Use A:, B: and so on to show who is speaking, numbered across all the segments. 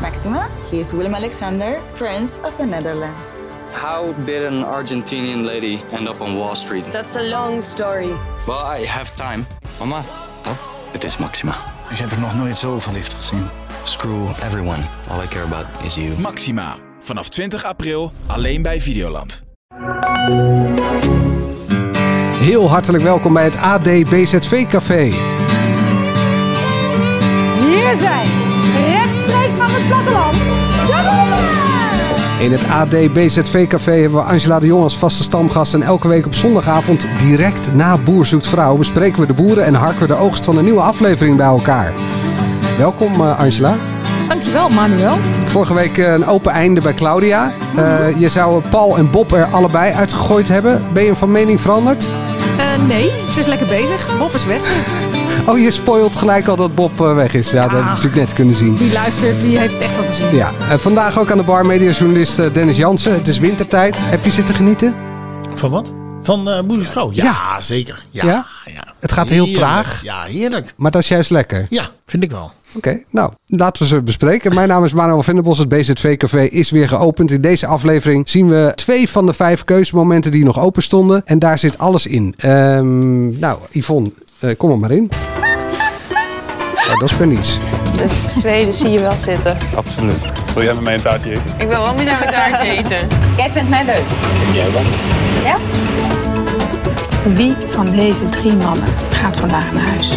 A: Maxima. He is Willem Alexander, Prince of the Netherlands.
B: How did an Argentinian lady end up on Wall Street?
C: That's a long story.
B: Well, I have time.
D: Mama,
B: Het is Maxima.
E: Ik heb er nog nooit zo verliefd gezien.
B: Screw everyone. All I care about is you.
F: Maxima. Vanaf 20 april alleen bij Videoland.
G: Heel hartelijk welkom bij het AD BZV Café.
H: Hier zijn, rechtstreeks van het platteland, de mannen!
G: In het AD BZV Café hebben we Angela de Jong als vaste stamgast. En elke week op zondagavond, direct na Boer Zoekt Vrouw, bespreken we de boeren en harken we de oogst van een nieuwe aflevering bij elkaar. Welkom eh, Angela.
H: Dankjewel, Manuel.
G: Vorige week eh, een open einde bij Claudia. Eh, je zou Paul en Bob er allebei uitgegooid hebben. Ben je van mening veranderd?
H: Eh, nee, ze is lekker bezig. Bob is weg.
G: Oh, je spoilt gelijk al dat Bob eh, weg is. Ja, dat heb ik
H: Ach.
G: natuurlijk net kunnen zien.
H: Die luistert, die heeft het echt al gezien.
G: Ja, eh, vandaag ook aan de bar mediajournalist eh, Dennis Jansen. Het is wintertijd. Heb je zitten genieten?
I: Van wat? Van eh moedersvrouw? Ja,
G: Ja.
I: zeker. Ja,
G: Ja?
I: ja?
G: Het gaat heel
I: Heerlijk.
G: traag.
I: Ja, heerlijk.
G: Maar dat is juist lekker.
I: Ja, vind ik wel.
G: Oké, nou, laten we ze bespreken. Mijn naam is Manuel Venderbos. Het BZV-café is weer geopend. In deze aflevering zien we twee van de vijf keuzemomenten die nog open stonden. En daar zit alles in. Ehm, nou, Yvonne, eh, kom er maar in. Ja, dat is Bernice.
C: Dus Zweden zie je wel zitten.
J: Wil jij met mij een taartje eten?
C: Ik wil wel meer naar elkaar eten.
A: Jij vindt mij leuk.
H: Wie van deze drie mannen gaat vandaag naar huis?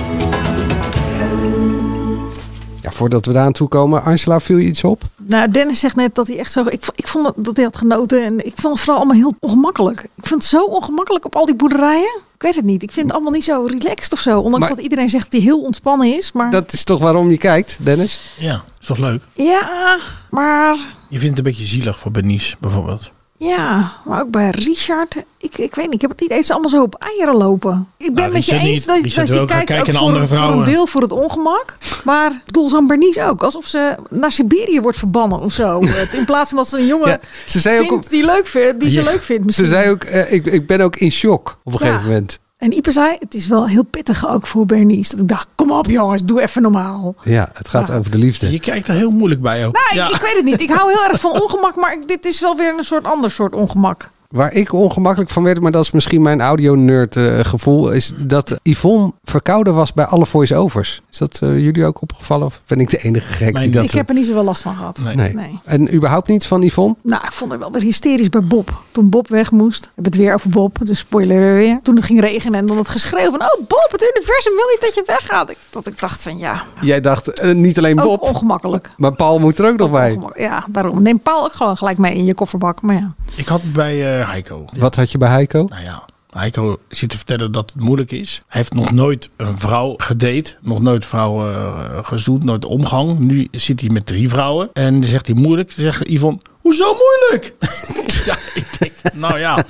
G: Ja, voordat we daar aan toe komen, Angela, viel je iets op?
H: Nou, Dennis zegt net dat hij echt zo... Ik, v- ik vond dat, dat hij had genoten en ik vond het vooral allemaal heel ongemakkelijk. Ik vind het zo ongemakkelijk op al die boerderijen. Ik weet het niet. Ik vind het allemaal niet zo relaxed of zo. Ondanks
G: Maar-
H: dat iedereen zegt dat hij heel ontspannen is. Maar
G: Dat is toch waarom je kijkt, Dennis?
I: Ja, is toch leuk?
H: ja, maar
I: Je vindt het een beetje zielig voor Bernice bijvoorbeeld.
H: Ja, maar ook bij Richard. Ik, ik weet niet, ik heb het idee dat ze allemaal zo op eieren lopen. Ik ben
I: Nou,
H: met je
I: Richard
H: eens
I: niet.
H: dat,
I: Richard
H: dat
I: wil
H: je
I: ook gaan
H: kijkt
I: kijken
H: ook
I: naar
H: voor,
I: andere
H: een- voor een
I: vrouwen.
H: deel voor het ongemak. Maar ik bedoel, zo'n Bernice ook. Alsof ze naar Siberië wordt verbannen of zo. Het- In plaats van dat ze een jongen
G: Ja, ze zei ook,
H: vindt die, leuk vindt, die ze
I: Ja.
H: leuk vindt
G: ze
H: misschien.
G: zei ook eh, ik, ik ben ook in shock op een
H: Ja.
G: gegeven moment.
H: En Ipe zei, het is wel heel pittig ook voor Bernice. Dat ik dacht, kom op jongens, doe even normaal.
G: Ja, het gaat
H: Ja.
G: over de liefde.
I: Je kijkt er heel moeilijk bij ook.
H: Nou, ik-
I: ja.
H: ik, weet het niet. Ik hou heel erg van ongemak, maar ik- dit is wel weer een soort ander soort ongemak.
G: Waar ik ongemakkelijk van werd, maar dat is misschien mijn audio-nerd eh, gevoel, is dat Yvonne verkouden was bij alle voice-overs. Is dat eh, jullie ook opgevallen of ben ik de enige gek
I: Mijn
G: die dat
H: ik heb er niet zoveel last van gehad.
G: Nee.
H: nee.
G: En überhaupt niet van Yvonne?
H: Nou, ik vond het wel weer hysterisch bij Bob. Toen Bob weg moest, we hebben het weer over Bob, dus spoiler weer. Toen het ging regenen en dan het geschreeuw van, oh Bob, het universum wil niet dat je weggaat. Ik, dat ik dacht van, ja,
G: Jij dacht eh, niet alleen
H: ook
G: Bob,
H: ongemakkelijk.
G: maar Paul moet er ook nog bij.
H: Ongemak- Ja, daarom. Neem Paul ook gewoon gelijk mee in je kofferbak. Maar ja,
I: Ik had het bij eh, Heiko.
G: Wat had je bij Heiko?
I: Nou ja, Heiko zit te vertellen dat het moeilijk is. Hij heeft nog nooit een vrouw gedate. Nog nooit vrouwen eh, gezoend, nooit omgang. Nu zit hij met drie vrouwen. En dan zegt hij moeilijk. Dan zegt Yvonne, hoezo moeilijk? ja, ik denk, nou ja.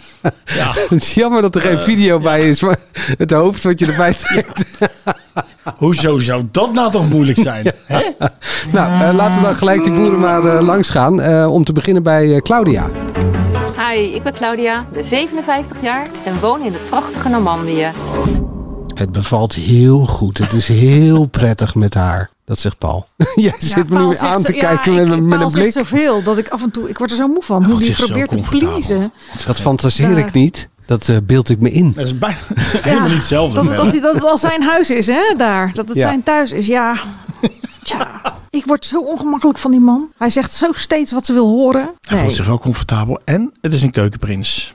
I: ja.
G: Het is jammer dat er geen video bij is, maar het hoofd wat je erbij trekt.
I: Hoezo zou dat nou toch moeilijk zijn? Hè?
G: Nou,
H: Ah.
G: eh, laten we dan gelijk die boeren maar eh, langs gaan. eh, om te beginnen bij eh, Claudia.
C: Hi, ik ben Claudia, ben 57 jaar en woon in het prachtige Normandië.
G: Het bevalt heel goed. Het is heel prettig met haar. Dat zegt Paul. Jij zit me
H: Paul
G: nu weer
H: zegt
G: aan
H: zo-
G: te
H: ja,
G: kijken
H: ik-
G: met, een- met
H: Paul
G: een
H: zegt
G: blik.
H: zoveel dat ik af en toe, ik word er zo moe van. Hoe
I: God,
H: die
I: die is zo
H: probeert te
I: comfortabel.
H: pleasen.
G: Dat fantaseer
H: Ja.
G: ik niet. Dat eh, beeld ik me in.
I: Dat is bijna helemaal niet hetzelfde.
H: Dat,
I: Melle.
H: dat, hij- dat het al zijn huis is, hè, daar. Dat het
G: Ja.
H: zijn thuis is, ja. Tja, ik word zo ongemakkelijk van die man. Hij zegt zo steeds wat ze wil horen.
I: Hij voelt
H: Nee.
I: zich wel comfortabel en het is een keukenprins.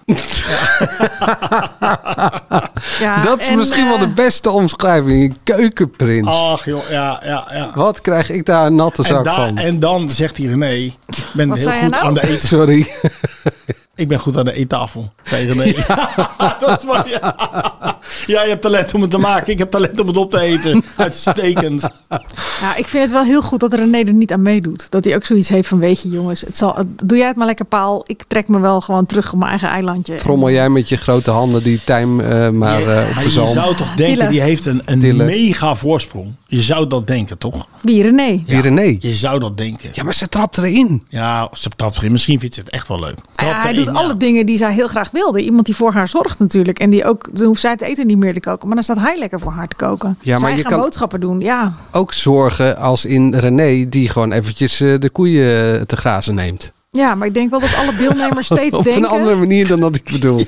H: Ja,
G: dat is
H: en,
G: misschien wel
H: eh, Oh.
G: de beste omschrijving. Een keukenprins.
I: Ach joh, ja, ja, ja.
G: Dus- Wat krijg ik daar een natte
I: En,
G: zak
I: daar-
G: van?
I: en dan zegt hij René, ik ben
H: Wat
I: heel
H: zei hij
I: goed
H: nou?
I: aan de eet,
G: Sorry.
I: ik ben goed aan de eettafel. Nee, René. dat is waar. Ja. ja, je hebt talent om het te maken. Ik heb talent om het op te eten. Uitstekend.
G: Nou,
H: ja, Nou, ik vind het wel heel goed dat René er niet aan meedoet. Dat hij ook zoiets heeft van, weet je jongens, het zal, het- doe jij het maar lekker paal. Ik trek me wel gewoon terug op mijn eigen eilandje.
G: Frommel jij met je grote handen die tijm eh, maar eh,
I: Hij-
G: op de
I: je
G: zalm.
I: zou toch denken,
H: Tille.
I: die heeft een, een
G: Tille.
I: mega voorsprong. Je zou dat denken, toch?
H: Wie René?
G: Die René.
I: Je zou dat denken.
G: Ja, maar ze trapte erin.
I: Ja, ze trapt erin. Misschien vindt ze het echt wel leuk. Trapt
H: hij
I: erin,
H: doet alle
I: ja.
H: dingen die zij heel graag wilde. Iemand die voor haar zorgt natuurlijk. En die ook, dan hoeft zij het eten niet meer te koken. Maar dan staat hij lekker voor haar te koken.
G: Ja, maar
H: zij
G: je
H: gaan
G: kan-
H: boodschappen doen. Ja,
G: Ook zorgen als in René, die gewoon eventjes eh, de koeien eh, te grazen neemt.
H: ja, maar ik denk wel dat alle deelnemers steeds
G: Op
H: denken.
G: een andere manier dan dat ik bedoel.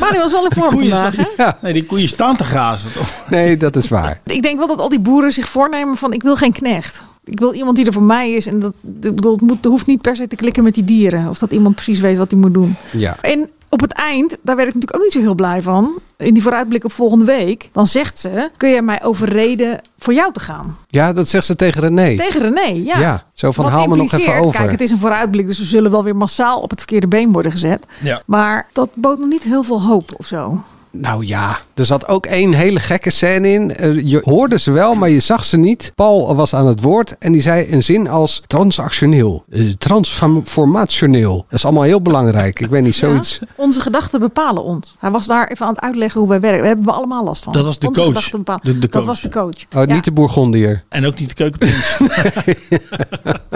H: Mario is wel in vorm
I: Koeien
H: vandaag. Hè?
I: staan- Nee, die koeien staan te grazen. toch?
G: Nee, dat is waar.
H: Ik denk wel dat al die boeren zich voornemen van ik wil geen knecht. Ik wil iemand die er voor mij is. En dat, ik bedoel, het, moet, het hoeft niet per se te klikken met die dieren. Of dat iemand precies weet wat hij moet doen.
G: Ja.
H: En op het eind, daar werd ik natuurlijk ook niet zo heel blij van. In die vooruitblik op volgende week. Dan zegt ze, kun jij mij overreden voor jou te gaan?
G: ja, dat zegt ze tegen René.
H: Tegen René, ja.
G: Ja, zo van,
H: Wat
G: haal me nog even
H: impliceert-
G: over.
H: Kijk, het is een vooruitblik, dus we zullen wel weer massaal op het verkeerde been worden gezet.
I: Ja.
H: Maar dat bood nog niet heel veel hoop of zo.
G: Nou ja, er zat ook één hele gekke scène in. Eh, Je hoorde ze wel, maar je zag ze niet. Paul was aan het woord en die zei een zin als transactioneel, eh, transformationeel. Dat is allemaal heel belangrijk. Ik weet niet, zoiets.
H: Ja, onze gedachten bepalen ons. Hij was daar even aan het uitleggen hoe wij werken. Daar hebben we allemaal last van.
I: Dat was de
H: onze
I: coach.
H: gedachten bepalen.
I: De- de
H: Dat
I: coach.
H: was de coach.
G: Oh,
H: Ja,
G: Niet de Bourgondier.
I: En ook niet de keukenprins.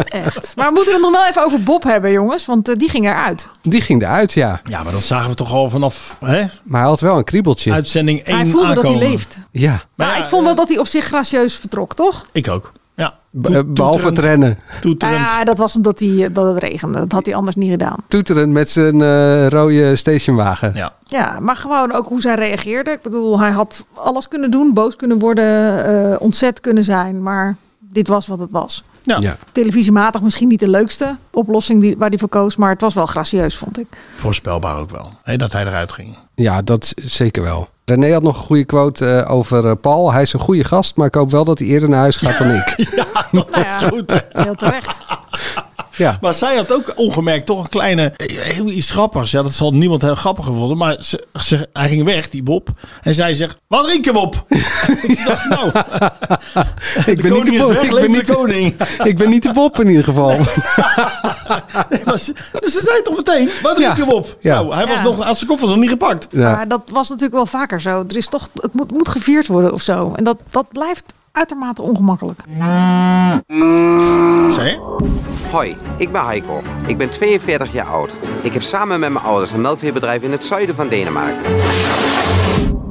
H: echt. Maar we moeten het nog wel even over Bob hebben, jongens. Want eh, die ging eruit.
G: Die ging eruit, ja.
I: ja, maar dat zagen we toch al vanaf hè?
G: Maar hij had wel een kriebeltje.
I: uitzending 1
H: hij voelde
I: aankomen.
H: dat hij leeft.
G: Ja,
I: Maar
H: Maar
I: ja,
H: ik vond wel
I: eh,
H: dat hij op zich gracieus vertrok, toch?
I: Ik ook. Ja.
G: Be- eh, behalve het rennen.
I: Toeterend.
H: Ja, dat was omdat hij, eh, dat het regende. Dat had hij anders niet gedaan.
G: Toeteren met zijn eh, rode stationwagen.
I: Ja.
H: Ja, maar gewoon ook hoe zij reageerde. Ik bedoel, hij had alles kunnen doen, boos kunnen worden, eh, ontzet kunnen zijn. Maar dit was wat het was.
I: Ja.
G: Ja.
H: Televisiematig misschien niet de leukste oplossing die, waar hij voor koos. Maar het was wel gracieus, vond ik.
I: Voorspelbaar ook wel. Hè, dat hij eruit ging.
G: Ja, dat z- zeker wel. René had nog een goede quote eh, over eh, Paul. Hij is een goede gast, maar ik hoop wel dat hij eerder naar huis gaat dan ik.
H: Nou ja, heel terecht.
G: Ja.
I: Maar zij had ook ongemerkt toch een kleine, heel iets grappigs. Ja, dat zal niemand heel grappig gevonden. Maar ze, ze- hij ging weg, die Bob. En zij zegt, wat drinken we op? ik dacht, nou, de
G: ik, ben niet
I: koning
G: de
I: is
G: Bob,
I: weg,
G: ik,
I: leef
G: ben
I: de
G: niet de,
I: koning.
G: ik ben niet de Bob in ieder geval.
I: Maar ze- dus ze zei toch meteen, wat drinken
G: Ja.
I: we op?
G: Ja.
I: Nou, hij was
H: Ja.
I: nog, had zijn koffer nog niet gepakt.
G: Ja.
H: Maar dat was natuurlijk wel vaker zo. Er is toch, het moet, moet gevierd worden of zo. En dat, dat blijft uitermate ongemakkelijk.
I: Zij?
D: Hoi, ik ben Heiko. Ik ben 42 jaar oud. Ik heb samen met mijn ouders een melkveebedrijf in het zuiden van Denemarken.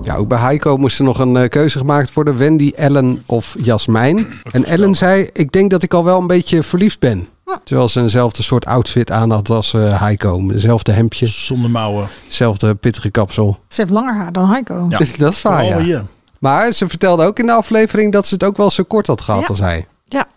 G: Ja, ook bij Heiko moest er nog een eh, keuze gemaakt worden. Wendy, Ellen of Jasmijn. En Ellen zei, ik denk dat ik al wel een beetje verliefd ben. Terwijl ze eenzelfde soort outfit aan had als eh Heiko. Hetzelfde hemdje,
I: Zonder mouwen.
G: hetzelfde pittige kapsel.
H: Ze heeft langer haar dan Heiko.
I: Ja.
G: Dat is waar,
I: Vooral
G: ja.
I: hier.
G: Maar ze vertelde ook in de aflevering dat ze het ook wel zo kort had gehad
H: Ja.
G: als hij.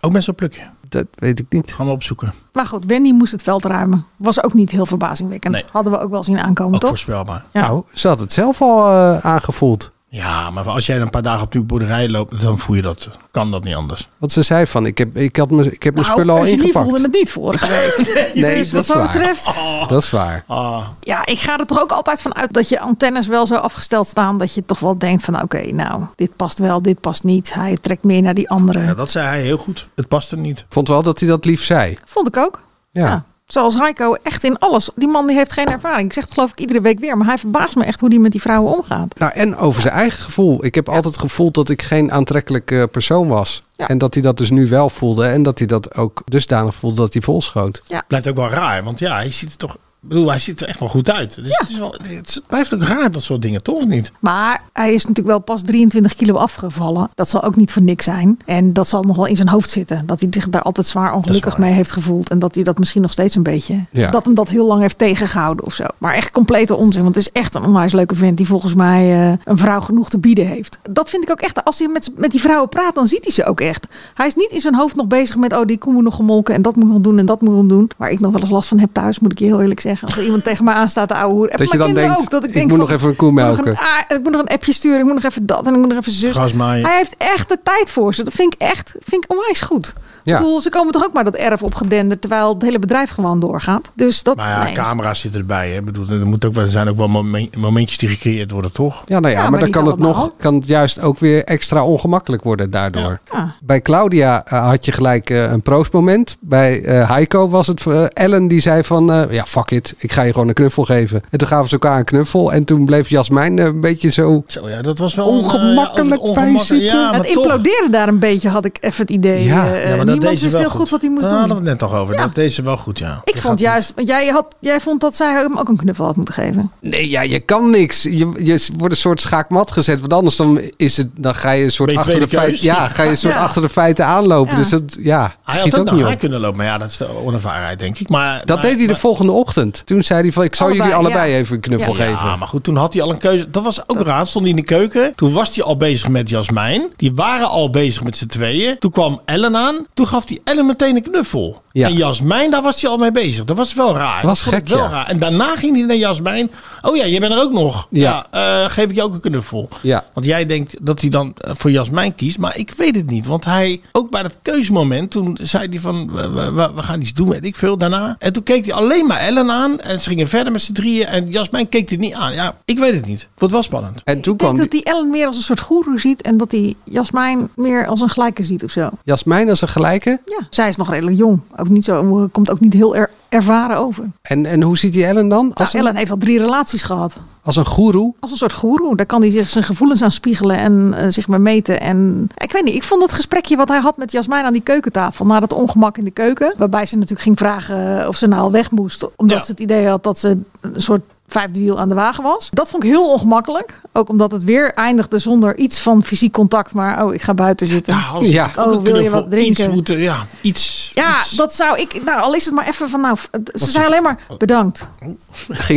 I: Ook met zo'n plukje.
G: Dat weet ik niet.
I: Gaan we opzoeken.
H: Maar goed, Wendy moest het veld ruimen. Was ook niet heel verbazingwekkend.
I: Nee.
H: Hadden we ook wel zien aankomen,
I: Ook
H: toch?
I: voorspelbaar.
H: Ja.
G: Nou, ze had het zelf al eh, aangevoeld.
I: Ja, maar als jij een paar dagen op de boerderij loopt, dan voel je dat. Kan dat niet anders.
G: Want ze zei van, ik heb, ik had mijn, ik heb mijn
H: Nou,
G: spullen al
H: Eugenie voelde
G: ingepakt.
H: het niet vorige week.
G: Nee,
H: dus
G: dat
H: wat
G: is
H: dat
G: waar.
H: betreft...
G: Dat is waar.
I: Ah,
H: Ja, ik ga er toch ook altijd van uit dat je antennes wel zo afgesteld staan... dat je toch wel denkt van oké, nou, dit past wel, dit past niet. Hij trekt meer naar die andere.
I: ja, dat zei hij heel goed. Het past er niet.
G: Vond wel dat hij dat lief zei.
H: Vond ik ook.
G: Ja.
H: Zoals Heiko echt in alles. Die man die heeft geen ervaring. Ik zeg het geloof ik iedere week weer. Maar hij verbaast me echt hoe die met die vrouwen omgaat.
G: Nou, en over zijn eigen gevoel. Ik heb altijd gevoeld dat ik geen aantrekkelijk eh, persoon was.
H: Ja.
G: En dat hij dat dus nu wel voelde. En dat hij dat ook dusdanig voelde dat hij volschoot.
I: Blijft ook wel raar, want ja, hij ziet er toch. Ik bedoel, hij ziet er echt wel goed uit. Dus het, is wel, het is- het blijft ook raar, dat soort dingen, toch of niet?
H: Maar hij is natuurlijk wel pas 23 kilo afgevallen. Dat zal ook niet voor niks zijn. En dat zal nog wel in zijn hoofd zitten. Dat hij zich daar altijd zwaar ongelukkig
I: waar.
H: mee heeft gevoeld. En dat hij dat misschien nog steeds een beetje.
G: Ja.
H: Dat hem dat heel lang heeft tegengehouden of zo. Maar echt complete onzin. Want het is echt een onwijs leuke vent die volgens mij eh, een vrouw genoeg te bieden heeft. Dat vind ik ook echt. Als hij met, met die vrouwen praat, dan ziet hij ze ook echt. Hij is niet in zijn hoofd nog bezig met. Oh, die koe moet nog gemolken. En dat moet nog doen. En dat moet nog doen. Waar ik nog wel eens last van heb thuis, moet ik je heel eerlijk zeggen. Als er iemand tegen me aanstaat, de ouwe hoer. En
G: Dat je
H: mijn
G: dan
H: kinderen
G: denkt, ik moet nog even een koe
H: ik moet nog
G: melken.
H: een ah, ik moet nog een appje sturen, ik moet nog even dat en ik moet nog even zus.
I: Gras maaien.
H: Hij heeft echt de tijd voor ze. Dat vind ik echt vind ik onwijs goed.
G: Ja.
H: Ik bedoel, ze komen toch ook maar dat erf op gedender, terwijl het hele bedrijf gewoon doorgaat. Dus dat,
I: Maar Nou ja,
H: nee.
I: camera's zitten erbij. Hè. Ik bedoel, er, moet ook wel, er zijn ook wel momen- momentjes die gecreëerd worden, toch?
G: Ja, nou ja,
H: Ja,
G: maar,
H: maar
G: dan
H: niet
G: kan het, nog,
H: allemaal.
G: kan het juist ook weer extra ongemakkelijk worden daardoor.
H: Ja.
G: Bij Claudia eh, had je gelijk eh, een proostmoment. Bij eh, Heiko was het eh, Ellen die zei van... eh, ja, fuck it, it. Ik ga je gewoon een knuffel geven. En toen gaven ze elkaar een knuffel. En toen bleef Jasmijn eh, een beetje zo...
I: Zo ja, dat was wel
G: Ongemakkelijk
I: eh,
G: bij zitten.
I: Ja, maar
H: het
I: toch.
H: imploderen daar een beetje had ik even het idee.
G: Ja. Ja,
H: eh,
I: Ja, maar dat
H: niemand
I: deed ze
H: wist
I: wel
H: heel goed. wat hij moest
I: Daar
H: doen.
I: hadden we het net nog over.
H: Ja.
I: Dat deed ze wel goed, ja.
H: Ik vond juist, want jij, had, jij vond dat zij hem ook een knuffel had moeten geven.
G: Nee, ja, je kan niks. Je, je wordt een soort schaakmat gezet. Want anders dan is het, dan ga je een soort,
I: Ben je
G: achter de,
I: tweede
G: feiten,
I: keus?
G: ja, ga je een soort
H: Ja.
G: achter de feiten aanlopen.
H: Ja.
G: Dus dat ja,
I: Hij had
G: schiet
I: ook
G: ook
I: naar
G: niet
I: haar
G: op.
I: kunnen lopen. Maar ja, dat is de onervarenheid, denk ik. Maar,
G: Dat
I: maar-
G: deed hij de
I: maar-
G: volgende ochtend. Toen zei hij van, ik zal
H: Allebei,
G: jullie allebei
H: ja.
G: even een knuffel
H: Ja.
G: geven.
I: Ja, maar goed, toen had hij al een keuze. Dat was ook raar. Stond hij in de keuken. Toen was hij al bezig met Jasmijn. Die waren al bezig met z'n tweeën. Toen kwam Ellen aan. Toen gaf hij Ellen meteen een knuffel.
G: Ja.
I: En Jasmijn, daar was hij al mee bezig. Dat was wel raar.
G: Was
I: Ik vond het
G: gek,
I: wel
G: ja.
I: raar. En daarna ging hij naar Jasmijn. Oh ja, je bent er ook nog.
G: Ja.
I: Ja. eh, geef ik je ook een knuffel.
G: Ja.
I: Want jij denkt dat hij dan eh, voor Jasmijn kiest. Maar ik weet het niet. Want hij, ook bij dat keuzemoment, toen zei hij van... We, we- we- we gaan iets doen, weet ik veel, daarna. En toen keek hij alleen maar Ellen aan. En ze gingen verder met z'n drieën. En Jasmijn keek er niet aan. Ja, ik weet het niet. Het wordt wel spannend.
G: En toen
H: Ik denk
G: kwam
H: dat
G: die-
H: hij Ellen meer als een soort goeroe ziet en dat hij Jasmijn meer als een gelijke ziet of zo.
G: Jasmijn als een gelijke.
H: Ja, zij is nog redelijk jong. Ook niet zo, komt ook niet heel er- ervaren over.
G: En, en hoe ziet hij Ellen dan? Als,
H: Nou,
G: een,
H: Ellen heeft al drie relaties gehad.
G: als een goeroe?
H: Als een soort goeroe. Daar kan hij zich zijn gevoelens aan spiegelen en eh, zich mee meten. En ik weet niet, ik vond dat gesprekje wat hij had met Jasmijn aan die keukentafel. Na dat ongemak in de keuken. Waarbij ze natuurlijk ging vragen of ze nou al weg moest. Omdat
I: Ja.
H: ze het idee had dat ze een soort vijfde wiel aan de wagen was. Dat vond ik heel ongemakkelijk. Ook omdat het weer eindigde zonder iets van fysiek contact. Maar oh, ik ga buiten zitten.
I: Ja, als
G: Ja.
I: ik ook
H: Oh,
I: een
H: wil je
I: knuffel,
H: wat drinken?
I: Iets moeten, ja, iets.
H: Ja,
I: iets.
H: dat zou ik. Nou, al is het maar even van. Nou, f- ze zei alleen maar bedankt.
G: Ging een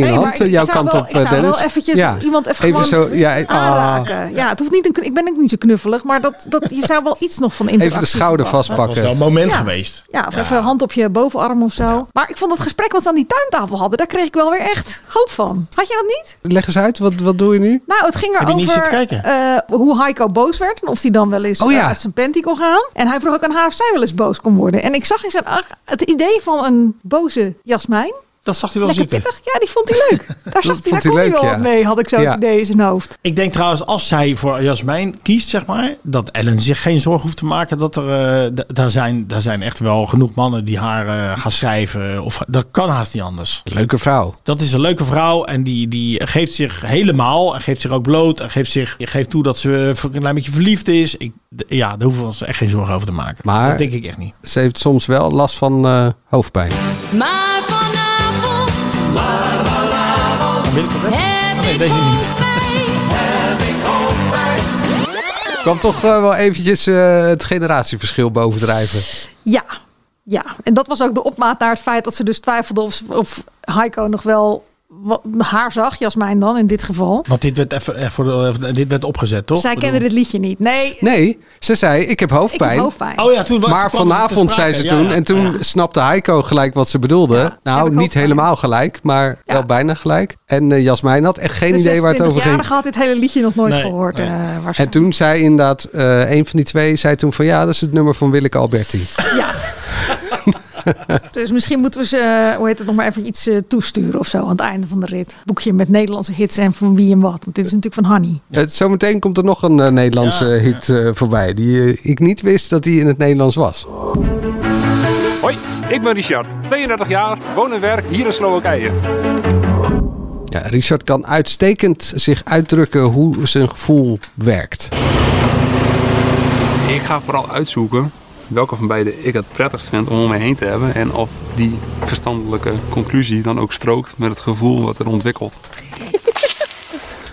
H: Nee, maar
G: hand
H: ik-
G: eh, jouw
H: ik zou
G: kant
H: wel-
G: op,
H: ik zou
G: eh, Dennis?
H: wel eventjes iemand even gewoon
G: zo, ja, ah.
H: Aanraken. Ja, het hoeft niet een. kn- Ik ben ook niet zo knuffelig, maar dat, dat, je zou wel iets nog van interactie
G: Even de schouder
H: verwachten.
I: Dat was
G: vastpakken.
I: wel een moment
H: Ja.
I: geweest.
H: Ja, of even hand op je bovenarm of zo. Maar ik vond het gesprek wat ze aan die tuintafel hadden, daar kreeg ik wel weer echt hoop van. Had je dat niet?
G: Leg eens uit, wat, wat doe je nu?
H: Nou, het ging
I: Heb je niet
H: erover
I: zitten kijken?
H: eh, hoe Heiko boos werd. En of hij dan wel eens
G: Oh ja.
H: eh, uit zijn panty kon gaan. En hij vroeg ook aan haar of zij wel eens boos kon worden. En ik zag in zijn ach, het idee van een boze Jasmijn.
I: Dat zag hij wel
H: Lekker
I: zitten.
H: pittig. Ja, die vond hij leuk. Daar, zag hij,
G: vond
H: daar
G: hij
H: kon hij
G: leuk,
H: wel
G: ja.
H: wat mee, had ik zo
G: Ja.
H: het idee in zijn hoofd.
I: Ik denk trouwens, als zij voor Jasmijn kiest, zeg maar, dat Ellen zich geen zorgen hoeft te maken. Dat er, eh, d- daar, zijn, daar zijn echt wel genoeg mannen die haar eh, gaan schrijven. Of, dat kan haast niet anders.
G: Leuke vrouw.
I: Dat is een leuke vrouw en die, die geeft zich helemaal. En geeft zich ook bloot. En geeft, zich, geeft toe dat ze voor een klein beetje verliefd is. Ik, d- ja, daar hoeven we ons echt geen zorgen over te maken.
G: Maar-
I: Dat denk ik echt niet.
G: Ze heeft soms wel last van eh, hoofdpijn.
K: Maar vanavond
I: Dan wil Oh, ik het weg.
K: heb
I: nee,
K: ik
I: deze niet.
K: hoofdpijn.
G: Kwam toch eh, wel eventjes eh, het generatieverschil bovendrijven.
H: Ja, ja. En dat was ook de opmaat naar het feit dat ze dus twijfelde of, of Heiko nog wel wa- haar zag, Jasmijn dan in dit geval.
I: Want dit werd, even, eh, voor de, eh, dit werd opgezet, toch?
H: Zij
I: Ik bedoel-
H: kende dit liedje niet. Nee,
G: Nee, ze zei, ik heb
H: ik heb
G: hoofdpijn.
H: hoofdpijn.
I: Oh ja, toen wa-
G: Maar
I: toen kwam het te
G: vanavond zei
I: sprake.
G: ze
I: Ja,
G: toen.
I: ja.
G: En toen
I: Ja.
G: snapte Heiko gelijk wat ze bedoelde.
H: heb
G: nou,
H: ik
G: niet
H: hoofdpijn.
G: helemaal gelijk, maar
H: Ja.
G: wel bijna gelijk. En eh, Jasmijn had echt geen
H: de
G: idee waar het over ging.
H: 26-jarige had dit hele liedje nog nooit
I: Nee,
H: gehoord.
I: nee.
H: eh, waarschijnlijk.
G: En toen zei inderdaad, eh een van die twee zei toen van ja, dat is het nummer van Willeke Alberti.
H: Ja. dus misschien moeten we ze, eh, hoe heet het, nog maar even iets eh, toesturen of zo aan het einde van de rit. Boekje met Nederlandse hits en van wie en wat. Want dit is natuurlijk van Hanny.
G: Eh, Zometeen komt er nog een eh, Nederlandse hit eh, voorbij, die eh, ik niet wist dat die in het Nederlands was.
J: Hoi, ik ben Richard, 32 jaar, woon en werk hier in Slowakije.
G: Ja, Richard kan uitstekend zich uitdrukken hoe zijn gevoel werkt.
J: Ik ga vooral uitzoeken welke van beide ik het prettigst vind om om me heen te hebben. En of die verstandelijke conclusie dan ook strookt met het gevoel wat er ontwikkelt.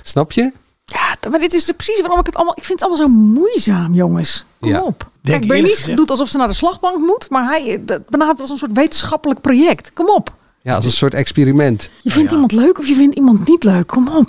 G: Snap je?
H: Ja, t- maar dit is er precies waarom ik het allemaal... Ik vind het allemaal zo moeizaam, jongens. Kom
G: Ja.
H: op.
I: Denk
H: Kijk,
I: eerlijk
H: Bernice
I: gezegd-
H: doet alsof ze naar de slagbank moet. Maar hij eh, dat benadert het als een soort wetenschappelijk project. Kom op.
G: Ja, als een soort experiment.
H: Je vindt iemand leuk of je vindt iemand niet leuk. Kom op.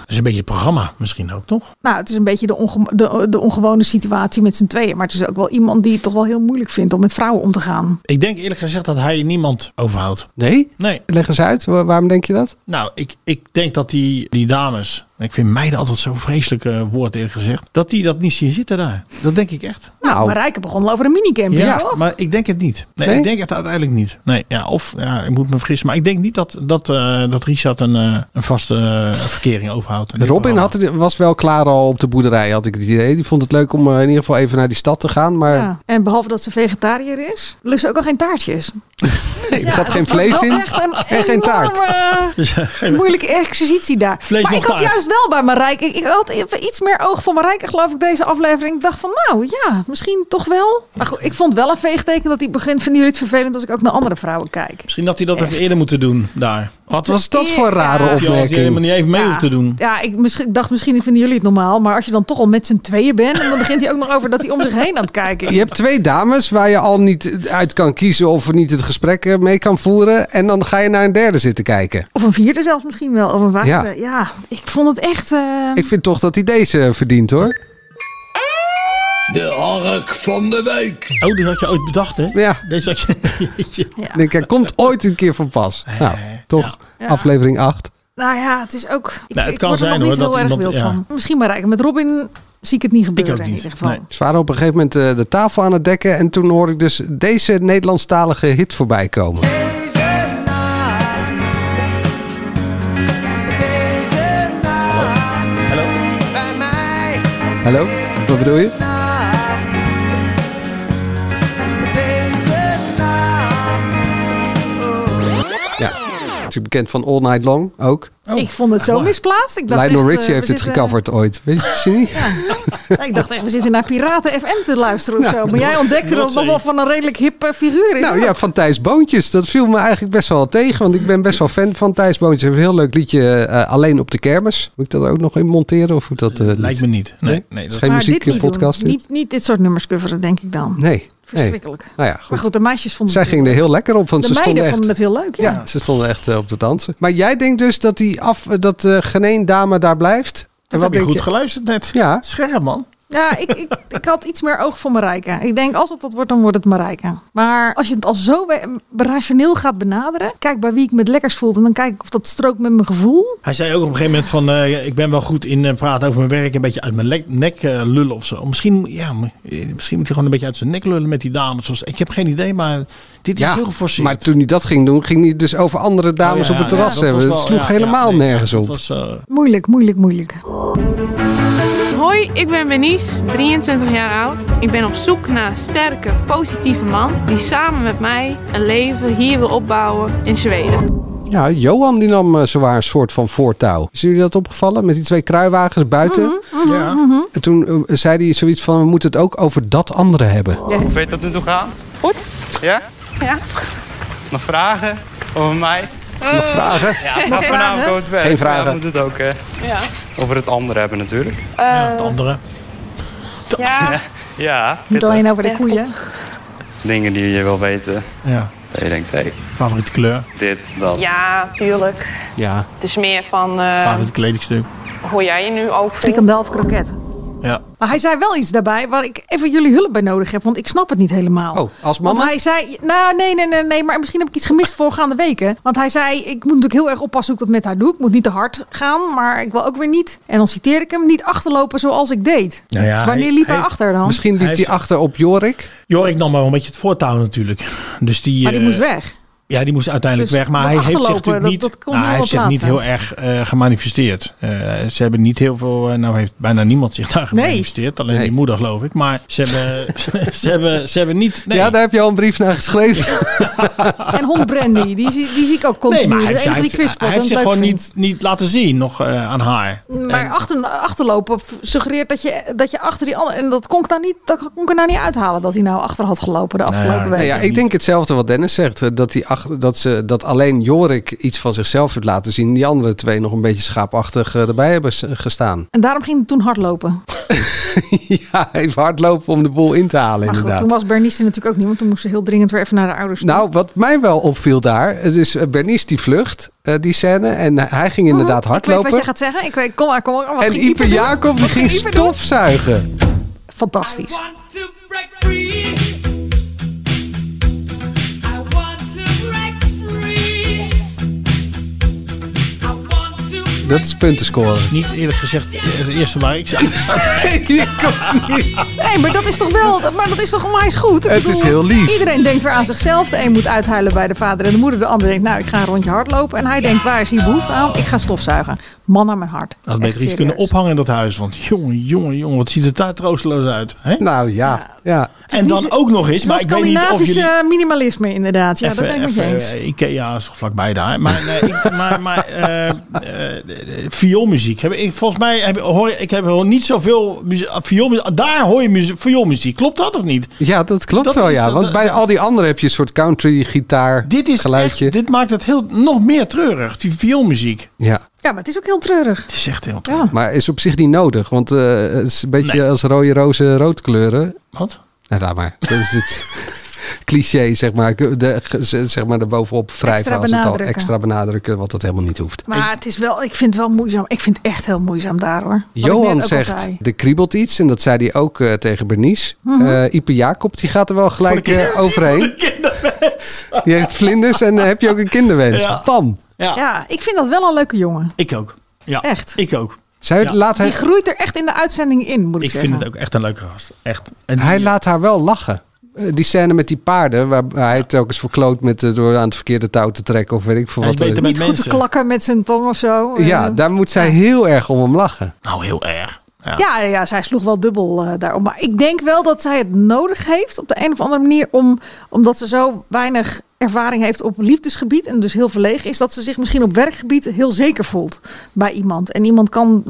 I: Dat is een beetje het programma misschien ook, toch?
H: Nou, het is een beetje de, onge- de, de ongewone situatie met z'n tweeën. Maar het is ook wel iemand die het toch wel heel moeilijk vindt om met vrouwen om te gaan.
I: Ik denk eerlijk gezegd dat hij niemand overhoudt.
G: Nee?
I: Nee.
G: Leg eens uit, wa- waarom denk je dat?
I: Nou, ik, ik denk dat die, die dames... Ik vind meiden altijd zo'n vreselijk eh, woord eerlijk gezegd. Dat die dat niet zien zitten daar. Dat denk ik echt.
H: Nou,
G: Nou.
H: maar Rijke begon al over een minicamper,
I: Ja,
H: toch?
I: maar ik denk het niet. Nee,
G: Nee?
I: ik denk het uiteindelijk niet. Nee, ja, of ja, ik moet me vergissen. Maar ik denk niet dat, dat, eh, dat Richard een, eh, een vaste eh, verkering overhoudt.
G: Robin had, het- was wel klaar al op de boerderij, had ik het idee. Die vond het leuk om eh, in ieder geval even naar die stad te gaan. Maar
H: Ja. En behalve dat ze vegetariër is, lust ze ook al geen taartjes.
G: Nee, er zat geen vlees
H: Oh,
G: in en geen taart.
I: Dus, eh, geen-
H: Moeilijke exercitie daar.
I: Vlees
H: maar
I: nog
H: ik had
I: taart.
H: juist wel bij Marijke. Ik, ik had even iets meer oog voor Marijke, geloof ik, deze aflevering. Ik dacht van, nou ja, misschien toch wel. Maar goed, ik vond wel een veegteken dat hij begint. Vinden jullie het vervelend als ik ook naar andere vrouwen kijk?
I: Misschien had hij dat even eerder moeten doen daar.
G: Wat was dat voor
H: Ja.
G: rare
I: Of je had hij helemaal
G: opmerking?
I: niet even mee
H: Ja.
I: hoeft te doen.
H: Ja, ik misschien, dacht misschien vinden jullie het normaal. Maar als je dan toch al met z'n tweeën bent. En dan begint hij ook nog over dat hij om zich heen aan het kijken is.
G: Je hebt twee dames waar je al niet uit kan kiezen of niet het gesprek eh, mee kan voeren. En dan ga je naar een derde zitten kijken.
H: Of een vierde zelfs misschien wel. Of een vijfde.
G: Ja.
H: Ja, ik vond het echt... eh,
G: Ik vind toch dat hij deze eh, verdient hoor.
I: Oh, die had je ooit bedacht, hè?
G: Ja.
I: Deze had je... Jeetje.
G: Ik Denk, hij komt ooit een keer van pas. Nou, toch
H: Ja.
G: aflevering 8.
H: Nou ja, het is ook... Ik,
I: Nou, het
H: ik
I: kan
H: word er
I: zijn,
H: nog
I: hoor,
H: niet
I: dat
H: heel erg
I: iemand-
H: wild
I: ja.
H: van. Misschien Marijke. Met Robin zie ik het niet gebeuren
I: ook
H: in
I: niet.
H: ieder geval.
I: Nee.
G: Ze waren op een gegeven moment eh, de tafel aan het dekken. En toen hoorde ik dus deze Nederlandstalige hit voorbij komen. Hallo? Wat bedoel je? Ja, het is bekend van All Night Long ook.
I: Oh.
H: Ik vond het zo misplaatst. Ik dacht
G: Lionel
H: echt,
G: Richie
H: eh,
G: heeft
H: we
G: het
H: zitten-
G: gecoverd ooit. Weet je misschien niet?
H: Nou, ik dacht echt, we zitten naar Piraten FM te luisteren of zo. Maar jij ontdekte dat het nog
I: Noordzee.
H: wel van een redelijk hip eh, figuur is.
G: Nou
H: hoor.
G: ja, van Thijs Boontjes. Dat viel me eigenlijk best wel tegen. Want ik ben best wel fan van Thijs Boontjes. Hij heeft een heel leuk liedje eh, Alleen op de Kermis. Moet ik dat er ook nog in monteren? Of hoe dat, eh,
I: Lijkt
G: niet?
I: me niet. Nee,
G: Nee?
I: nee.
G: Is
I: dat-
G: geen
H: Maar
G: muziek, eh,
H: dit niet doen.
G: podcast, dit?
H: Niet, niet dit soort nummers coveren, denk ik dan.
G: Nee. nee.
H: Verschrikkelijk.
G: Nou ja,
H: Maar
G: goed.
H: goed, de meisjes vonden
G: Zij
H: het
G: gingen er heel lekker op, want
H: De
G: ze stonden
H: meiden
G: echt...
H: vonden het heel leuk, ja.
G: Ja, ze stonden echt eh, op te dansen. Maar jij denkt dus dat die af, dat eh geen één dame daar blijft? En
I: Dat heb je
G: denk
I: goed geluisterd net.
G: Ja.
I: Scherp, man.
H: Ja, ik, ik, ik had iets meer oog voor Marijke. Ik denk, als het dat wordt, dan wordt het Marijke. Maar als je het al zo we- rationeel gaat benaderen... kijk bij wie ik me het lekkers voel... en dan kijk ik of dat strookt met mijn gevoel.
I: Hij zei ook op een gegeven moment van... eh, ik ben wel goed in eh, praten over mijn werk. Een beetje uit mijn lek- nek eh, lullen of zo. Misschien, ja, m- eh, misschien moet hij gewoon een beetje uit zijn nek lullen met die dames. Zoals- Ik heb geen idee, maar dit is
G: Ja,
I: heel geforceerd.
G: maar toen hij dat ging doen, ging hij dus over andere dames
I: Oh, ja,
G: op het
I: ja,
G: terras
I: dat was
G: hebben.
I: wel-
G: het sloeg
I: ja, ja,
G: helemaal
I: nee,
G: nergens
I: dat
G: op.
I: was, eh,
H: Moeilijk, moeilijk, moeilijk.
L: Hoi, ik ben Benice, 23 jaar oud. Ik ben op zoek naar een sterke, positieve man die samen met mij een leven hier wil opbouwen in Zweden.
G: Ja, Johan die nam eh, zowaar een soort van voortouw. Is jullie dat opgevallen? Met die twee kruiwagens buiten.
H: Mhm.
I: ja.
G: En toen eh, zei hij zoiets van, we moeten het ook over dat andere hebben.
B: Hoe weet dat nu toe gaan?
L: Goed.
B: Ja?
L: Ja.
B: Nog vragen over mij?
G: Nog vragen?
B: Ja, maar vanavond komt het werk.
G: Geen vragen.
B: Ja, we moeten het ook eh,
L: Ja.
B: over het andere hebben natuurlijk.
I: ja, het andere.
L: Ja.
B: Ja,
H: Niet
B: pittig.
H: alleen over de
L: Ja,
H: koeien.
B: dingen die je wil weten.
I: Ja,
B: Dat je denkt, hé,
I: favoriete kleur,
B: dit, dat.
L: Ja, tuurlijk.
G: Ja.
L: Het is meer van eh,
H: Oh.
I: favoriete kledingstuk.
L: hoe jij je nu ook voelt.
H: Frikandel of kroket.
I: Ja.
H: Maar hij zei wel iets daarbij waar ik even jullie hulp bij nodig heb. Want ik snap het niet helemaal.
G: Oh, als
H: Want
G: mama?
H: hij zei, nou nee, nee, nee, nee, maar misschien heb ik iets gemist voorgaande weken. Want hij zei, ik moet natuurlijk heel erg oppassen hoe ik dat met haar doe. Ik moet niet te hard gaan, maar ik wil ook weer niet. En dan citeer ik hem, niet achterlopen zoals ik deed.
I: Nou ja,
H: Wanneer
I: hij-
H: liep hij,
I: hij-
H: achter dan?
G: Misschien liep
I: Hij
G: hij
I: is-
G: achter op Jorik.
I: Jorik nam wel een beetje het voortouw natuurlijk. Dus die,
H: Maar die
I: eh,
H: moest weg.
I: Ja, die moest uiteindelijk
H: Dus
I: weg. Maar
H: dat
I: hij heeft zich
H: achterlopen,
I: natuurlijk
H: dat-
I: niet,
H: dat kon
I: nou, hij
H: heel
I: heeft zich
H: wat
I: niet heel
H: later.
I: erg eh, gemanifesteerd. Eh, ze hebben niet heel veel... eh, nou heeft bijna niemand zich daar
H: Nee.
I: gemanifesteerd. Alleen
G: Nee.
I: die moeder geloof ik. Maar ze hebben, ze hebben, ze hebben niet... Nee.
G: Ja, daar heb je al een brief naar geschreven.
H: En hond Brandy, die, zie- die zie ik ook continu.
I: Nee, maar hij
H: de
I: heeft, hij
H: enige die
I: heeft,
H: ik kwispelt
I: hij heeft
H: en
I: zich
H: leuk
I: gewoon
H: vind.
I: niet, niet laten zien nog eh, aan haar.
H: Maar achter, achterlopen v- suggereert dat je, dat je achter die andere... En dat kon ik, nou niet, dat kon ik er nou niet uithalen dat hij nou achter had gelopen de afgelopen
I: ja,
G: Nou
H: weken.
G: ja,
I: weet
G: ik
I: niet.
G: denk hetzelfde wat Dennis zegt. eh, Dat, die ach- dat, ze, dat alleen Jorik iets van zichzelf heeft laten zien. Die andere twee nog een beetje schaapachtig eh, erbij hebben s- gestaan.
H: En daarom ging hij toen hardlopen.
G: ja, even hardlopen om de boel in te halen
H: Maar goed,
G: inderdaad.
H: toen was Bernice er natuurlijk ook niet. Want toen moest ze heel dringend weer even naar de ouders toe.
G: Nou, wat mij wel opviel daar. Het is eh, Bernice die vlucht, eh, die scène. En hij ging inderdaad
H: Mhm. Oh, Ik weet
G: hardlopen.
H: wat je gaat zeggen. Ik weet, kom maar, kom maar. Oh, Wat
G: En
H: ging Ipe
G: Ipe
H: doen?
G: Jacob die
H: Wat
G: ging
H: Ipe doen?
G: stofzuigen.
H: Fantastisch.
G: Dat is punten scoren.
I: Niet eerlijk gezegd eh, het eerste waar ik zei.
G: Ik kon niet.
H: Nee, maar dat is toch wel... Maar dat is toch onwijs goed? Ik
G: Het is heel lief.
H: Iedereen denkt weer aan zichzelf. De een moet uithuilen bij de vader en de moeder. De ander denkt, nou, ik ga een rondje hardlopen. En hij denkt, waar is hier behoefte aan? Ik ga stofzuigen. Man aan mijn hart.
I: Had
H: Echt
I: beter iets
H: serieus.
I: kunnen ophangen in dat huis. Want jongen, jongen, jongen, wat ziet het daar troosteloos uit. Hè?
G: Nou ja, Ja.
I: En dan ook nog eens,
H: Zo'n
I: maar ik weet niet of
H: Scandinavisch
I: jullie...
H: eh, minimalisme inderdaad. Ja, dat ben ik
I: even,
H: met je eens.
I: eh, Ikea is vlakbij daar. Maar, eh, ik, maar, maar eh, eh, vioolmuziek. Heb, ik, volgens mij heb, hoor ik- ik heb hoor niet zoveel muzie- ah, vioolmuziek. Daar hoor je muzie- vioolmuziek. Klopt dat of niet?
G: Ja, dat klopt
I: Dat
G: wel,
I: is
G: ja.
I: dat-
G: Want
I: dat-
G: bij al die anderen heb je een soort country, gitaar,
I: Dit, is
G: geluidje.
I: echt- dit maakt het heel, nog meer treurig, die vioolmuziek.
G: Ja.
H: Ja, maar het is ook heel treurig.
I: Het is echt heel
H: treurig.
G: Maar is op zich niet nodig, want eh, het is een beetje
I: Nee.
G: als rode rozen rood kleuren.
I: Wat?
G: Nou, laat maar. Dat is het cliché, zeg maar. De, ze- zeg maar, erbovenop wrijven
H: Extra
G: als het al
H: benadrukken.
G: extra benadrukken, wat dat helemaal niet hoeft.
H: Maar het is wel, ik vind het wel moeizaam. Ik vind het echt heel moeizaam daar hoor. Wat ik net ook
G: Johan
H: al
G: zegt,
H: zei.
G: er kriebelt iets. En dat zei hij ook eh, tegen Bernice. Eh
H: Mhm.
G: Ipe Jacob, die gaat er wel gelijk
I: Voor de
G: eh, overheen. Die heeft vlinders en eh, heb je ook een kinderwens.
I: Ja.
G: Pam.
I: Ja.
H: ja, ik vind dat wel een leuke jongen.
I: Ik ook. Ja,
H: Echt?
I: Ik ook.
G: Zij
I: Ja.
G: laat
H: Die
G: hij,
H: groeit er echt in de uitzending in, moet ik,
I: Ik
H: zeggen.
I: vind het ook echt een leuke gast. Echt.
G: hij laat haar wel lachen. Eh, die scène met die paarden, waar hij telkens verkloot met, eh, door aan het verkeerde touw te trekken of weet ik veel
I: Hij
G: wat.
I: is beter
G: er-
I: met
H: Goed te
I: mensen.
H: klakken met zijn tong of zo.
G: ja,
H: Eh,
G: daar moet zij heel erg om hem lachen.
I: Nou, heel erg. Ja.
H: Ja, ja, zij sloeg wel dubbel eh, daarom. Maar ik denk wel dat zij het nodig heeft op de een of andere manier. Om, omdat ze zo weinig ervaring heeft op liefdesgebied. En dus heel verlegen is. Dat ze zich misschien op werkgebied heel zeker voelt bij iemand. En iemand kan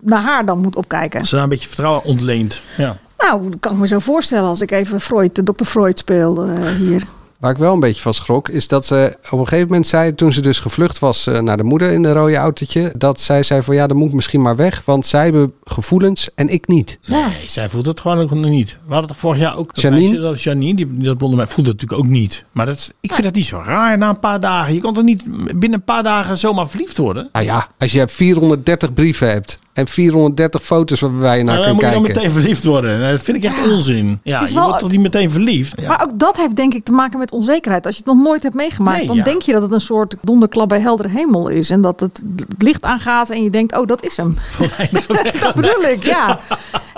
H: naar haar dan moet opkijken.
I: Als Ze daar een beetje vertrouwen ontleent. Ja.
H: Nou, dat kan ik me zo voorstellen als ik even Freud, de Dr. Freud speelde eh, hier.
G: Waar ik wel een beetje van schrok, is dat ze op een gegeven moment zei, toen ze dus gevlucht was eh, naar de moeder in de rode autootje, dat zij zei van ja, dan moet ik misschien maar weg, want zij hebben gevoelens en ik niet.
I: Nee, zij voelt het gewoon ook nog niet. We hadden het vorig jaar ook. dat
G: Janine?
I: meisje, dat Janine, die, die dat blonde mij voelt het natuurlijk ook niet. Maar dat, is- ik
H: Ah.
I: vind dat niet zo raar na een paar dagen. Je kan toch niet binnen een paar dagen zomaar verliefd worden?
G: Nou ja, als je 430 brieven hebt en 430 foto's waar je naar
I: Nou, dan
G: kunt
I: moet je
G: kijken.
I: dan meteen verliefd worden. Dat vind ik echt onzin. Ja,
H: Het is
I: je
H: wel-
I: wordt toch niet meteen verliefd? Ja.
H: Maar ook dat heeft denk ik te maken met onzekerheid. Als je het nog nooit hebt meegemaakt,
I: Nee,
H: dan
I: ja.
H: denk je dat het een soort donderklap bij heldere hemel is. En dat het het licht aangaat en je denkt, oh, dat is hem. dat bedoel ik, ja.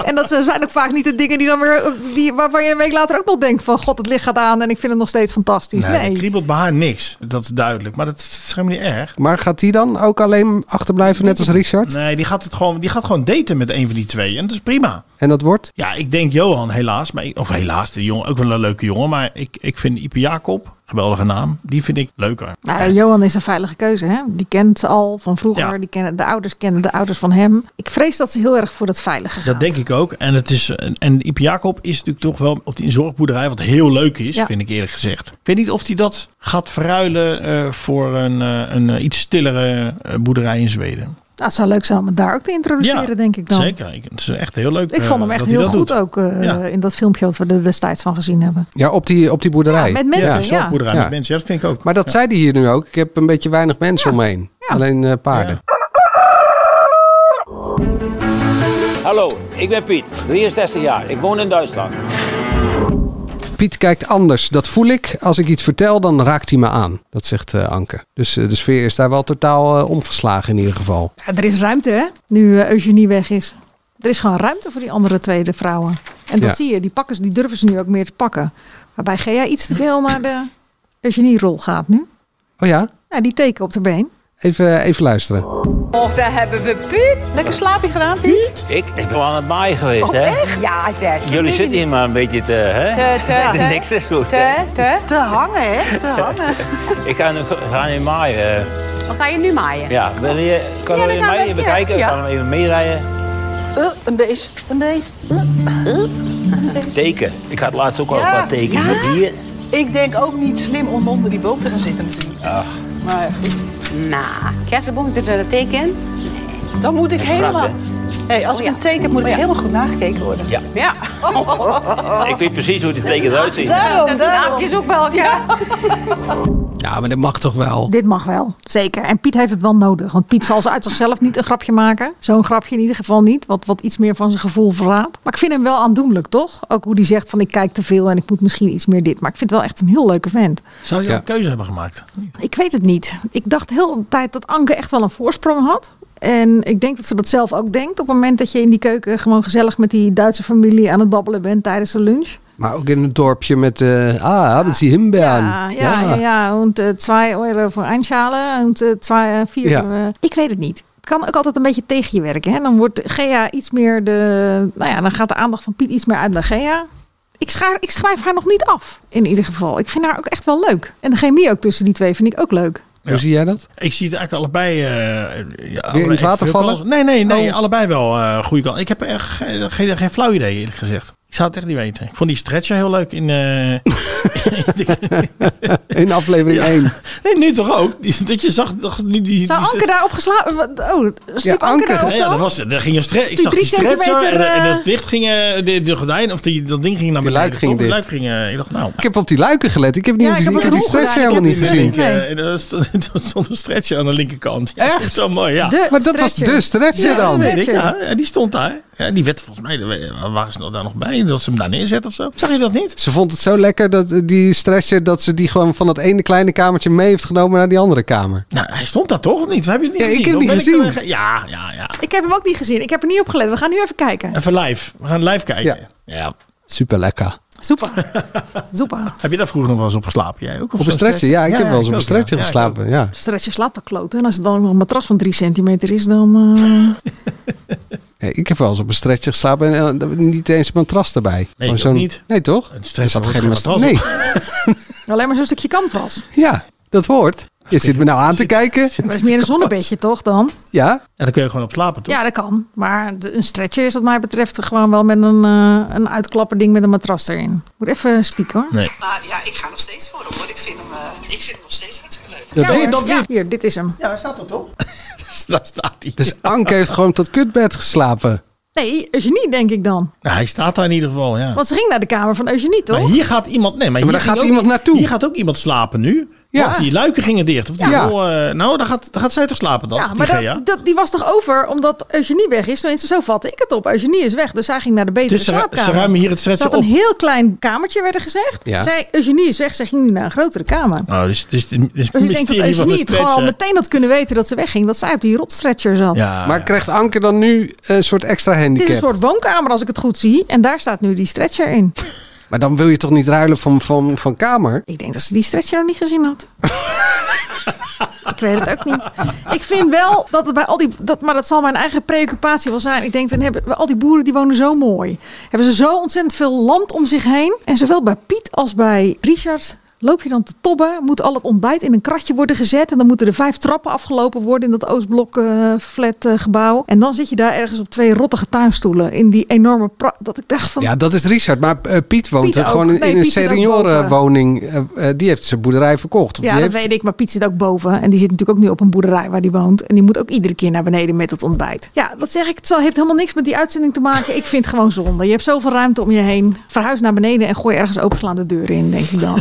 H: En dat eh, zijn ook vaak niet de dingen die dan weer, eh, die, waarvan je een week later ook nog denkt van, god, het licht gaat aan en ik vind het nog steeds fantastisch.
I: Nee,
H: Nee.
I: er kriebelt bij haar niks. Dat is duidelijk. Maar dat is helemaal niet erg.
G: Maar gaat die dan ook alleen achterblijven, net als Richard?
I: Nee, die gaat, het gewoon, die gaat gewoon daten met een van die twee. En dat is prima.
G: En dat wordt?
I: Ja, ik denk Johan helaas. Maar ik- of helaas, de jongen, ook wel een leuke jongen. Maar ik, ik vind Ipe Jacob, geweldige naam, die vind ik leuker.
H: Nou, ja, Johan is een veilige keuze, hè? Die kent ze al van vroeger.
I: Ja.
H: Die kennen, de ouders kennen de ouders van hem. Ik vrees dat ze heel erg voor dat veilige
I: Dat denk ik ook. En, het is, en Ipe Jacob is natuurlijk toch wel op die zorgboerderij, wat heel leuk is,
H: Ja.
I: vind ik eerlijk gezegd. Ik weet niet of hij dat gaat verruilen eh, voor een, eh, een eh, iets stillere eh, boerderij in Zweden.
H: Nou, het zou leuk zijn om het daar ook te introduceren, denk ik dan.
I: Zeker. Ik- het is echt heel leuk.
H: Ik
I: eh,
H: vond hem echt
I: dat hij
H: heel
I: dat
H: goed
I: doet.
H: ook eh,
I: Ja.
H: in dat filmpje wat we er destijds van gezien hebben.
G: Ja, op die, op die boerderij.
H: Ja, met
I: Ja,
H: mensen,
I: een
H: ja.
I: zorgboerderij
G: Ja.
I: met mensen. Ja, dat vind ik ook.
G: Maar dat zei die hier nu ook. Ik heb een beetje weinig mensen omheen. Alleen eh, paarden.
M: Hallo, ik ben Piet, 63 jaar. Ik woon in Duitsland.
G: Piet kijkt anders. Dat voel ik. Als ik iets vertel, dan raakt hij me aan. Dat zegt eh, Anke. Dus eh, de sfeer is daar wel totaal eh, omgeslagen in ieder geval.
H: Ja, er is ruimte, hè? Nu eh, Eugenie weg is. Er is gewoon ruimte voor die andere tweede vrouwen. En dat
G: Ja.
H: zie je, die, pakken, ze- die durven ze nu ook meer te pakken. Waarbij Gea iets te veel naar de Eugenie-rol gaat nu.
G: Oh ja?
H: Nou, die teken op de been.
G: Even, eh, even luisteren.
N: Och, daar hebben we Piet. Lekker slaapje gedaan, Piet?
M: Ik, ik ben aan het maaien geweest, hè?
N: Ja, zeg.
M: Jullie zitten hier maar een beetje te, hè?
N: Te- te- te-
M: Niks is goed.
N: Te, te. te hangen, hè? Te hangen.
M: Ik ga nu, ga nu maaien.
N: Wat ga je nu maaien?
M: Ja, wil je, kan
N: Ja,
M: wil je
N: dan gaan
M: mij
N: we-
M: even
N: ja,
M: kijken? Ik
N: ja.
M: kan hem even meerijden.
N: Eh, een beest, een beest. eh, eh, een beest.
M: Teken. Ik had laatst ook al
N: Ja,
M: wat tekenen
N: ja.
M: met dieren.
N: Ik denk ook niet slim om onder die boom te gaan zitten natuurlijk.
M: Ach,
N: Maar goed. Nou, kersenboom, zit er een teken in? Nee. Dan moet ik
M: Dat is
N: helemaal...
M: gras,
N: hey, als ik een teken heb, moet ik helemaal goed nagekeken worden.
M: Ja.
N: Ja.
M: ik weet precies hoe die teken eruit ziet.
N: Daarom, daarom. is ook wel, ja.
G: Ja, maar dat mag toch wel?
H: Dit mag wel, zeker. En Piet heeft het wel nodig. Want Piet zal ze uit zichzelf niet een grapje maken. Zo'n grapje in ieder geval niet. Wat, wat iets meer van zijn gevoel verraadt. Maar ik vind hem wel aandoenlijk, toch? Ook hoe hij zegt van ik kijk te veel en ik moet misschien iets meer dit. Maar ik vind het wel echt een heel leuke vent.
I: Zou je
H: Ja.
I: een keuze hebben gemaakt?
H: Ik weet het niet. Ik dacht heel de tijd dat Anke echt wel een voorsprong had. En ik denk dat ze dat zelf ook denkt. Op het moment dat je in die keuken gewoon gezellig met die Duitse familie aan het babbelen bent tijdens de lunch.
G: Maar ook in een dorpje met... eh, ah, hebben ze hem
H: Ja, ja, ja. ja. En 2 euro voor einschalen en 4 vier
G: Ja.
H: eh, ik weet het niet. Het kan ook altijd een beetje tegen je werken. Hè? Dan wordt Gea iets meer de... Nou ja, dan gaat de aandacht van Piet iets meer uit naar Gea. Ik, schaar, ik schrijf haar nog niet af, in ieder geval. Ik vind haar ook echt wel leuk. En de chemie ook tussen die twee vind ik ook leuk.
G: Hoe zie jij dat?
I: Ik zie het eigenlijk allebei. eh ja,
G: Weer in het water
I: veel
G: vallen? Oh.
I: kansen. Nee, nee, nee. Allebei wel eh goede kant. Ik heb echt geen, geen, geen flauw idee, eerlijk gezegd. Ik zou het echt niet weten. Ik vond die stretcher heel leuk in. eh,
G: in aflevering 1.
I: Nee, nu toch ook? Die- Dat je zag. toch nu die,
H: Zou
I: die
H: Anke daarop geslapen? Oh, sliep Anke
I: anker.
H: daarop
I: Ja,
H: dan?
I: dat was het. Er ging een stre- ik
H: Die
I: zag die
H: drie
I: stretcher en,
H: centimeter,
I: en
H: eh,
I: dat dicht ging, eh, de, de gordijn of die, dat ding ging naar beneden.
G: luik ging
I: toch? De
G: dicht.
I: luik ging, eh, ik dacht, nou.
G: Ik heb op die luiken gelet. Ik heb, niet
I: Ja,
G: ik
I: ik
G: heb,
I: heb
G: ik
I: het
G: heb die
I: ook
G: stretch
I: gedaan. Ik
G: helemaal niet
I: heb die
G: gezien.
I: link, eh, en Er stond er stond een stretcher aan de linkerkant. Ja, echt zo mooi, ja.
G: De Maar dat was stretcher. de stretcher
I: Ja, dat
G: dan.
I: weet ik,
G: stretcher.
I: Ja, ja, die stond daar. Ja, die werd volgens mij, waar waren ze nou daar nog bij? Dat ze hem daar neerzetten of zo. Zag je dat niet?
G: Ze vond het zo lekker dat eh, die stretcher dat ze die gewoon van dat ene kleine kamertje mee heeft genomen naar die andere kamer.
I: Nou, hij stond daar toch of niet? We hebben het
G: Ja,
I: niet
G: ik
I: gezien.
G: heb
I: Of
G: niet
I: ben
G: gezien.
I: er weg- Ja, ja, ja.
H: Ik heb hem ook niet gezien. Ik heb er niet op gelet. We gaan nu even kijken.
I: Even live. We gaan live kijken. Ja.
G: Super lekker.
H: Super. Super.
I: Heb je daar vroeger nog wel eens op geslapen? Jij ook?
G: Op een stretcher, ja. Ik heb wel eens op een stretcher
I: geslapen.
G: geslapen. Ja.
H: Stretcher slaapt al kloten. En als het dan nog een matras van 3 centimeter is, dan... eh,
G: Ja, Ik heb wel eens op een stretcher geslapen en eh, niet eens een matras erbij.
I: Nee,
G: Gewoon
I: ook
G: zo'n-
I: niet.
G: Nee, toch?
I: Een
G: Er
I: stretcher
G: zat
I: wordt
G: geen
I: geen
G: matras. Nee,
I: matras
H: Alleen maar zo'n stukje canvas.
G: ja, dat hoort. Je zit me nou aan te kijken.
H: Maar dat is meer een zonnebedje, toch dan?
G: Ja? En
I: dan kun je gewoon op slapen,
H: Ja, dat kan. Maar de- een stretcher is wat mij betreft gewoon wel met een, eh een uitklapperding met een matras erin. Moet even spieken hoor.
I: Nee.
O: Maar ja, ik ga nog steeds voor hem hoor. Ik vind hem, eh, ik vind hem nog steeds hartstikke leuk.
G: Dat weet-
H: hoor.
G: dat
H: Ja, hier, dit is hem.
I: Ja, hij staat er toch? Daar staat hij.
G: Dus Anke heeft gewoon op dat kutbed geslapen.
H: Nee, Eugenie denk ik dan.
I: Nou, hij staat daar in ieder geval, ja.
H: Want ze ging naar de kamer van Eugenie, toch?
I: Maar hier gaat iemand... Nee, maar,
G: Ja, maar
I: hier
G: daar gaat
I: ging
G: iemand naartoe.
I: Hier gaat ook iemand slapen nu.
G: Ja.
I: Ja. Want die luiken gingen dicht. Of die
H: Ja.
I: wil, eh, nou, daar gaat, daar gaat zij toch slapen dan?
H: ja,
I: of die
H: maar
I: Gea?
H: dat, dat, die was toch over omdat Eugenie weg is? Tenminste, zo vatte ik het op. Eugenie is weg, dus zij ging naar de betere
I: Dus ze ru-
H: slaapkamer.
I: ze ruimen hier het
H: Ze
I: stretchen
H: had een
I: op.
H: heel klein kamertje, werd er gezegd.
I: Ja.
H: Zij, Eugenie is weg, zij ging nu naar een grotere kamer.
I: Nou, dus, dus, dus het
H: Dus ik
I: mysterie
H: denk
I: van
H: dat
I: de
H: Eugenie het gewoon al
I: stretcher.
H: meteen had kunnen weten dat ze wegging. Dat zij op die rotstretcher zat.
I: Ah,
G: maar krijgt Anke dan nu een soort extra
H: Het
G: handicap?
H: is een soort woonkamer als ik het goed zie. En daar staat nu die stretcher in.
G: Maar dan wil je toch niet ruilen van, van, van kamer?
H: Ik denk dat ze die stretcher nog niet gezien had. ik weet het ook niet. Ik vind wel dat het bij al die... Dat, maar dat zal mijn eigen preoccupatie wel zijn. Ik denk, dan hebben we- al die boeren die wonen zo mooi. Hebben ze zo ontzettend veel land om zich heen. En zowel bij Piet als bij Richard... Loop je dan te tobben, moet al het ontbijt in een kratje worden gezet. En dan moeten er vijf trappen afgelopen worden in dat Oostblok eh, flat eh, gebouw. En dan zit je daar ergens op twee rottige tuinstoelen. In die enorme... pra- dat ik dacht van,
G: Ja, dat is Richard. Maar eh, Piet woont
H: Piet
G: er
H: ook.
G: gewoon in
H: Nee,
G: een
H: Piet zit ook
G: seniorenwoning. Eh, eh, die heeft zijn boerderij verkocht. Of
H: Ja,
G: die
H: dat
G: heeft-
H: weet ik. Maar Piet zit ook boven. En die zit natuurlijk ook nu op een boerderij waar die woont. En die moet ook iedere keer naar beneden met het ontbijt. Ja, dat zeg ik. Het zal- heeft helemaal niks met die uitzending te maken. Ik vind het gewoon zonde. Je hebt zoveel ruimte om je heen. Verhuis naar beneden en gooi ergens openslaande deuren in, denk ik dan.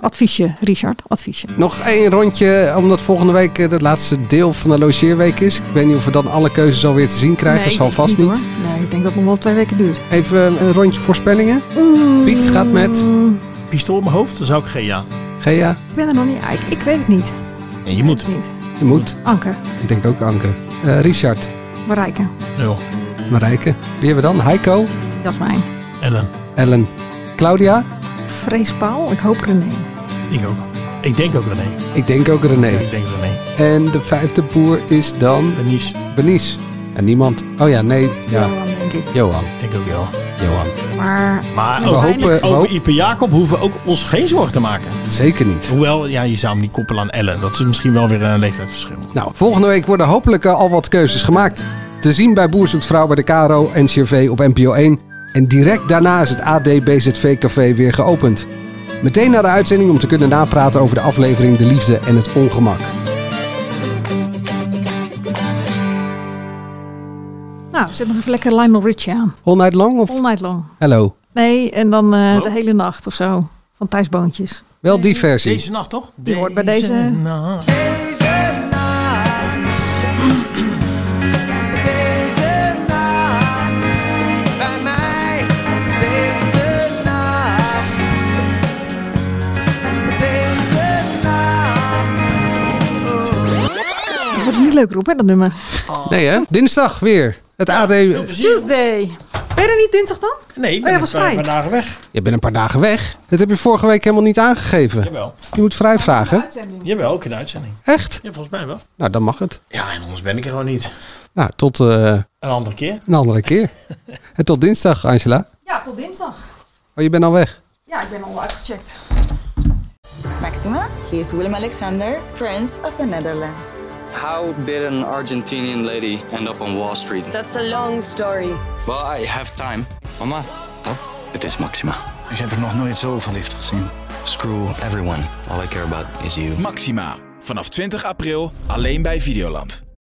H: adviesje, Richard. Adviesje.
G: Nog één rondje, omdat volgende week eh, het laatste deel van de logeerweek is. Ik weet niet of we dan alle keuzes alweer te zien krijgen.
H: Nee, ik
G: Zal
H: denk
G: vast
H: het
G: niet.
H: hoor. Nee, ik denk dat het nog wel twee weken duurt.
G: Even eh, een rondje voorspellingen. Piet gaat met
I: Pistool op mijn hoofd, dan zou ik Gea.
G: Gea.
H: Ik ben er nog niet uit. Ik weet het niet.
I: En je moet.
G: Je moet.
H: Anke,
G: Ik denk ook Anke. Eh, Richard.
H: Marijke,
I: Nul.
G: Marijke. Wie hebben we dan? Heiko.
H: Jasmijn,
I: Ellen.
G: Ellen. Claudia.
H: Vrees Paul. Ik hoop René.
I: Ik ook. Ik denk ook René.
G: Ik denk ook René.
I: Ja, ik denk René.
G: En de vijfde boer is dan...
I: Benies.
G: Benies. En niemand. Oh ja, nee. Ja.
H: Johan, denk ik.
G: Johan.
I: Ik denk ook wel.
G: Johan.
H: Maar,
I: Maar
G: We
I: over,
G: hopen-
I: over
G: hoop-
I: Ipe Jacob hoeven we ook ons geen zorgen te maken.
G: Zeker niet.
I: Hoewel, ja, je zou hem niet koppelen aan Ellen. Dat is misschien wel weer een leeftijdsverschil.
G: Nou, volgende week worden hopelijk eh, al wat keuzes gemaakt. Te zien bij Boer Zoekt Vrouw bij de Caro en CRV op NPO 1. En direct daarna is het AD BZV Café weer geopend. Meteen na de uitzending om te kunnen napraten over de aflevering De Liefde en het Ongemak.
H: nou, zet nog even lekker Lionel Richie aan.
G: All night long of
H: All night long.
G: hello?
H: Nee, en dan eh, de hele nacht of zo. Van Thijs Boontjes.
G: Wel die versie.
I: Deze nacht toch?
H: Die hoort bij deze. Het wordt niet leuk roepen, hè, dat nummer.
G: Nee hè? Dinsdag weer. Het AD...
H: Tuesday. Ben je er niet dinsdag dan?
I: Nee, ik
H: Oh,
I: ben
H: ja,
I: een
H: was
I: paar-
H: vrij.
I: paar dagen weg.
G: Je bent een paar dagen weg. Dat heb je vorige week helemaal niet aangegeven.
I: Jawel.
G: Je moet vrij vragen.
I: Jawel, ook in de uitzending.
G: Echt?
I: Ja, volgens mij wel.
G: Nou, dan mag het.
I: Ja, en anders ben ik er gewoon niet.
G: Nou, tot eh,
I: Een andere keer.
G: een andere keer. en tot dinsdag, Angela.
H: Ja, tot dinsdag.
G: Oké. Oh, je bent al weg.
A: Ja, ik ben al uitgecheckt. Maxima, he is Willem Alexander, Prince of the Netherlands.
B: How did an Argentinian lady end up on Wall Street?
P: That's a long story.
B: Well, I have time. Mama, oh, het is Maxima.
E: Ik heb er nog nooit zoveel liefde gezien.
B: Screw everyone. All I care about is you.
F: Maxima. Vanaf 20 april alleen bij Videoland.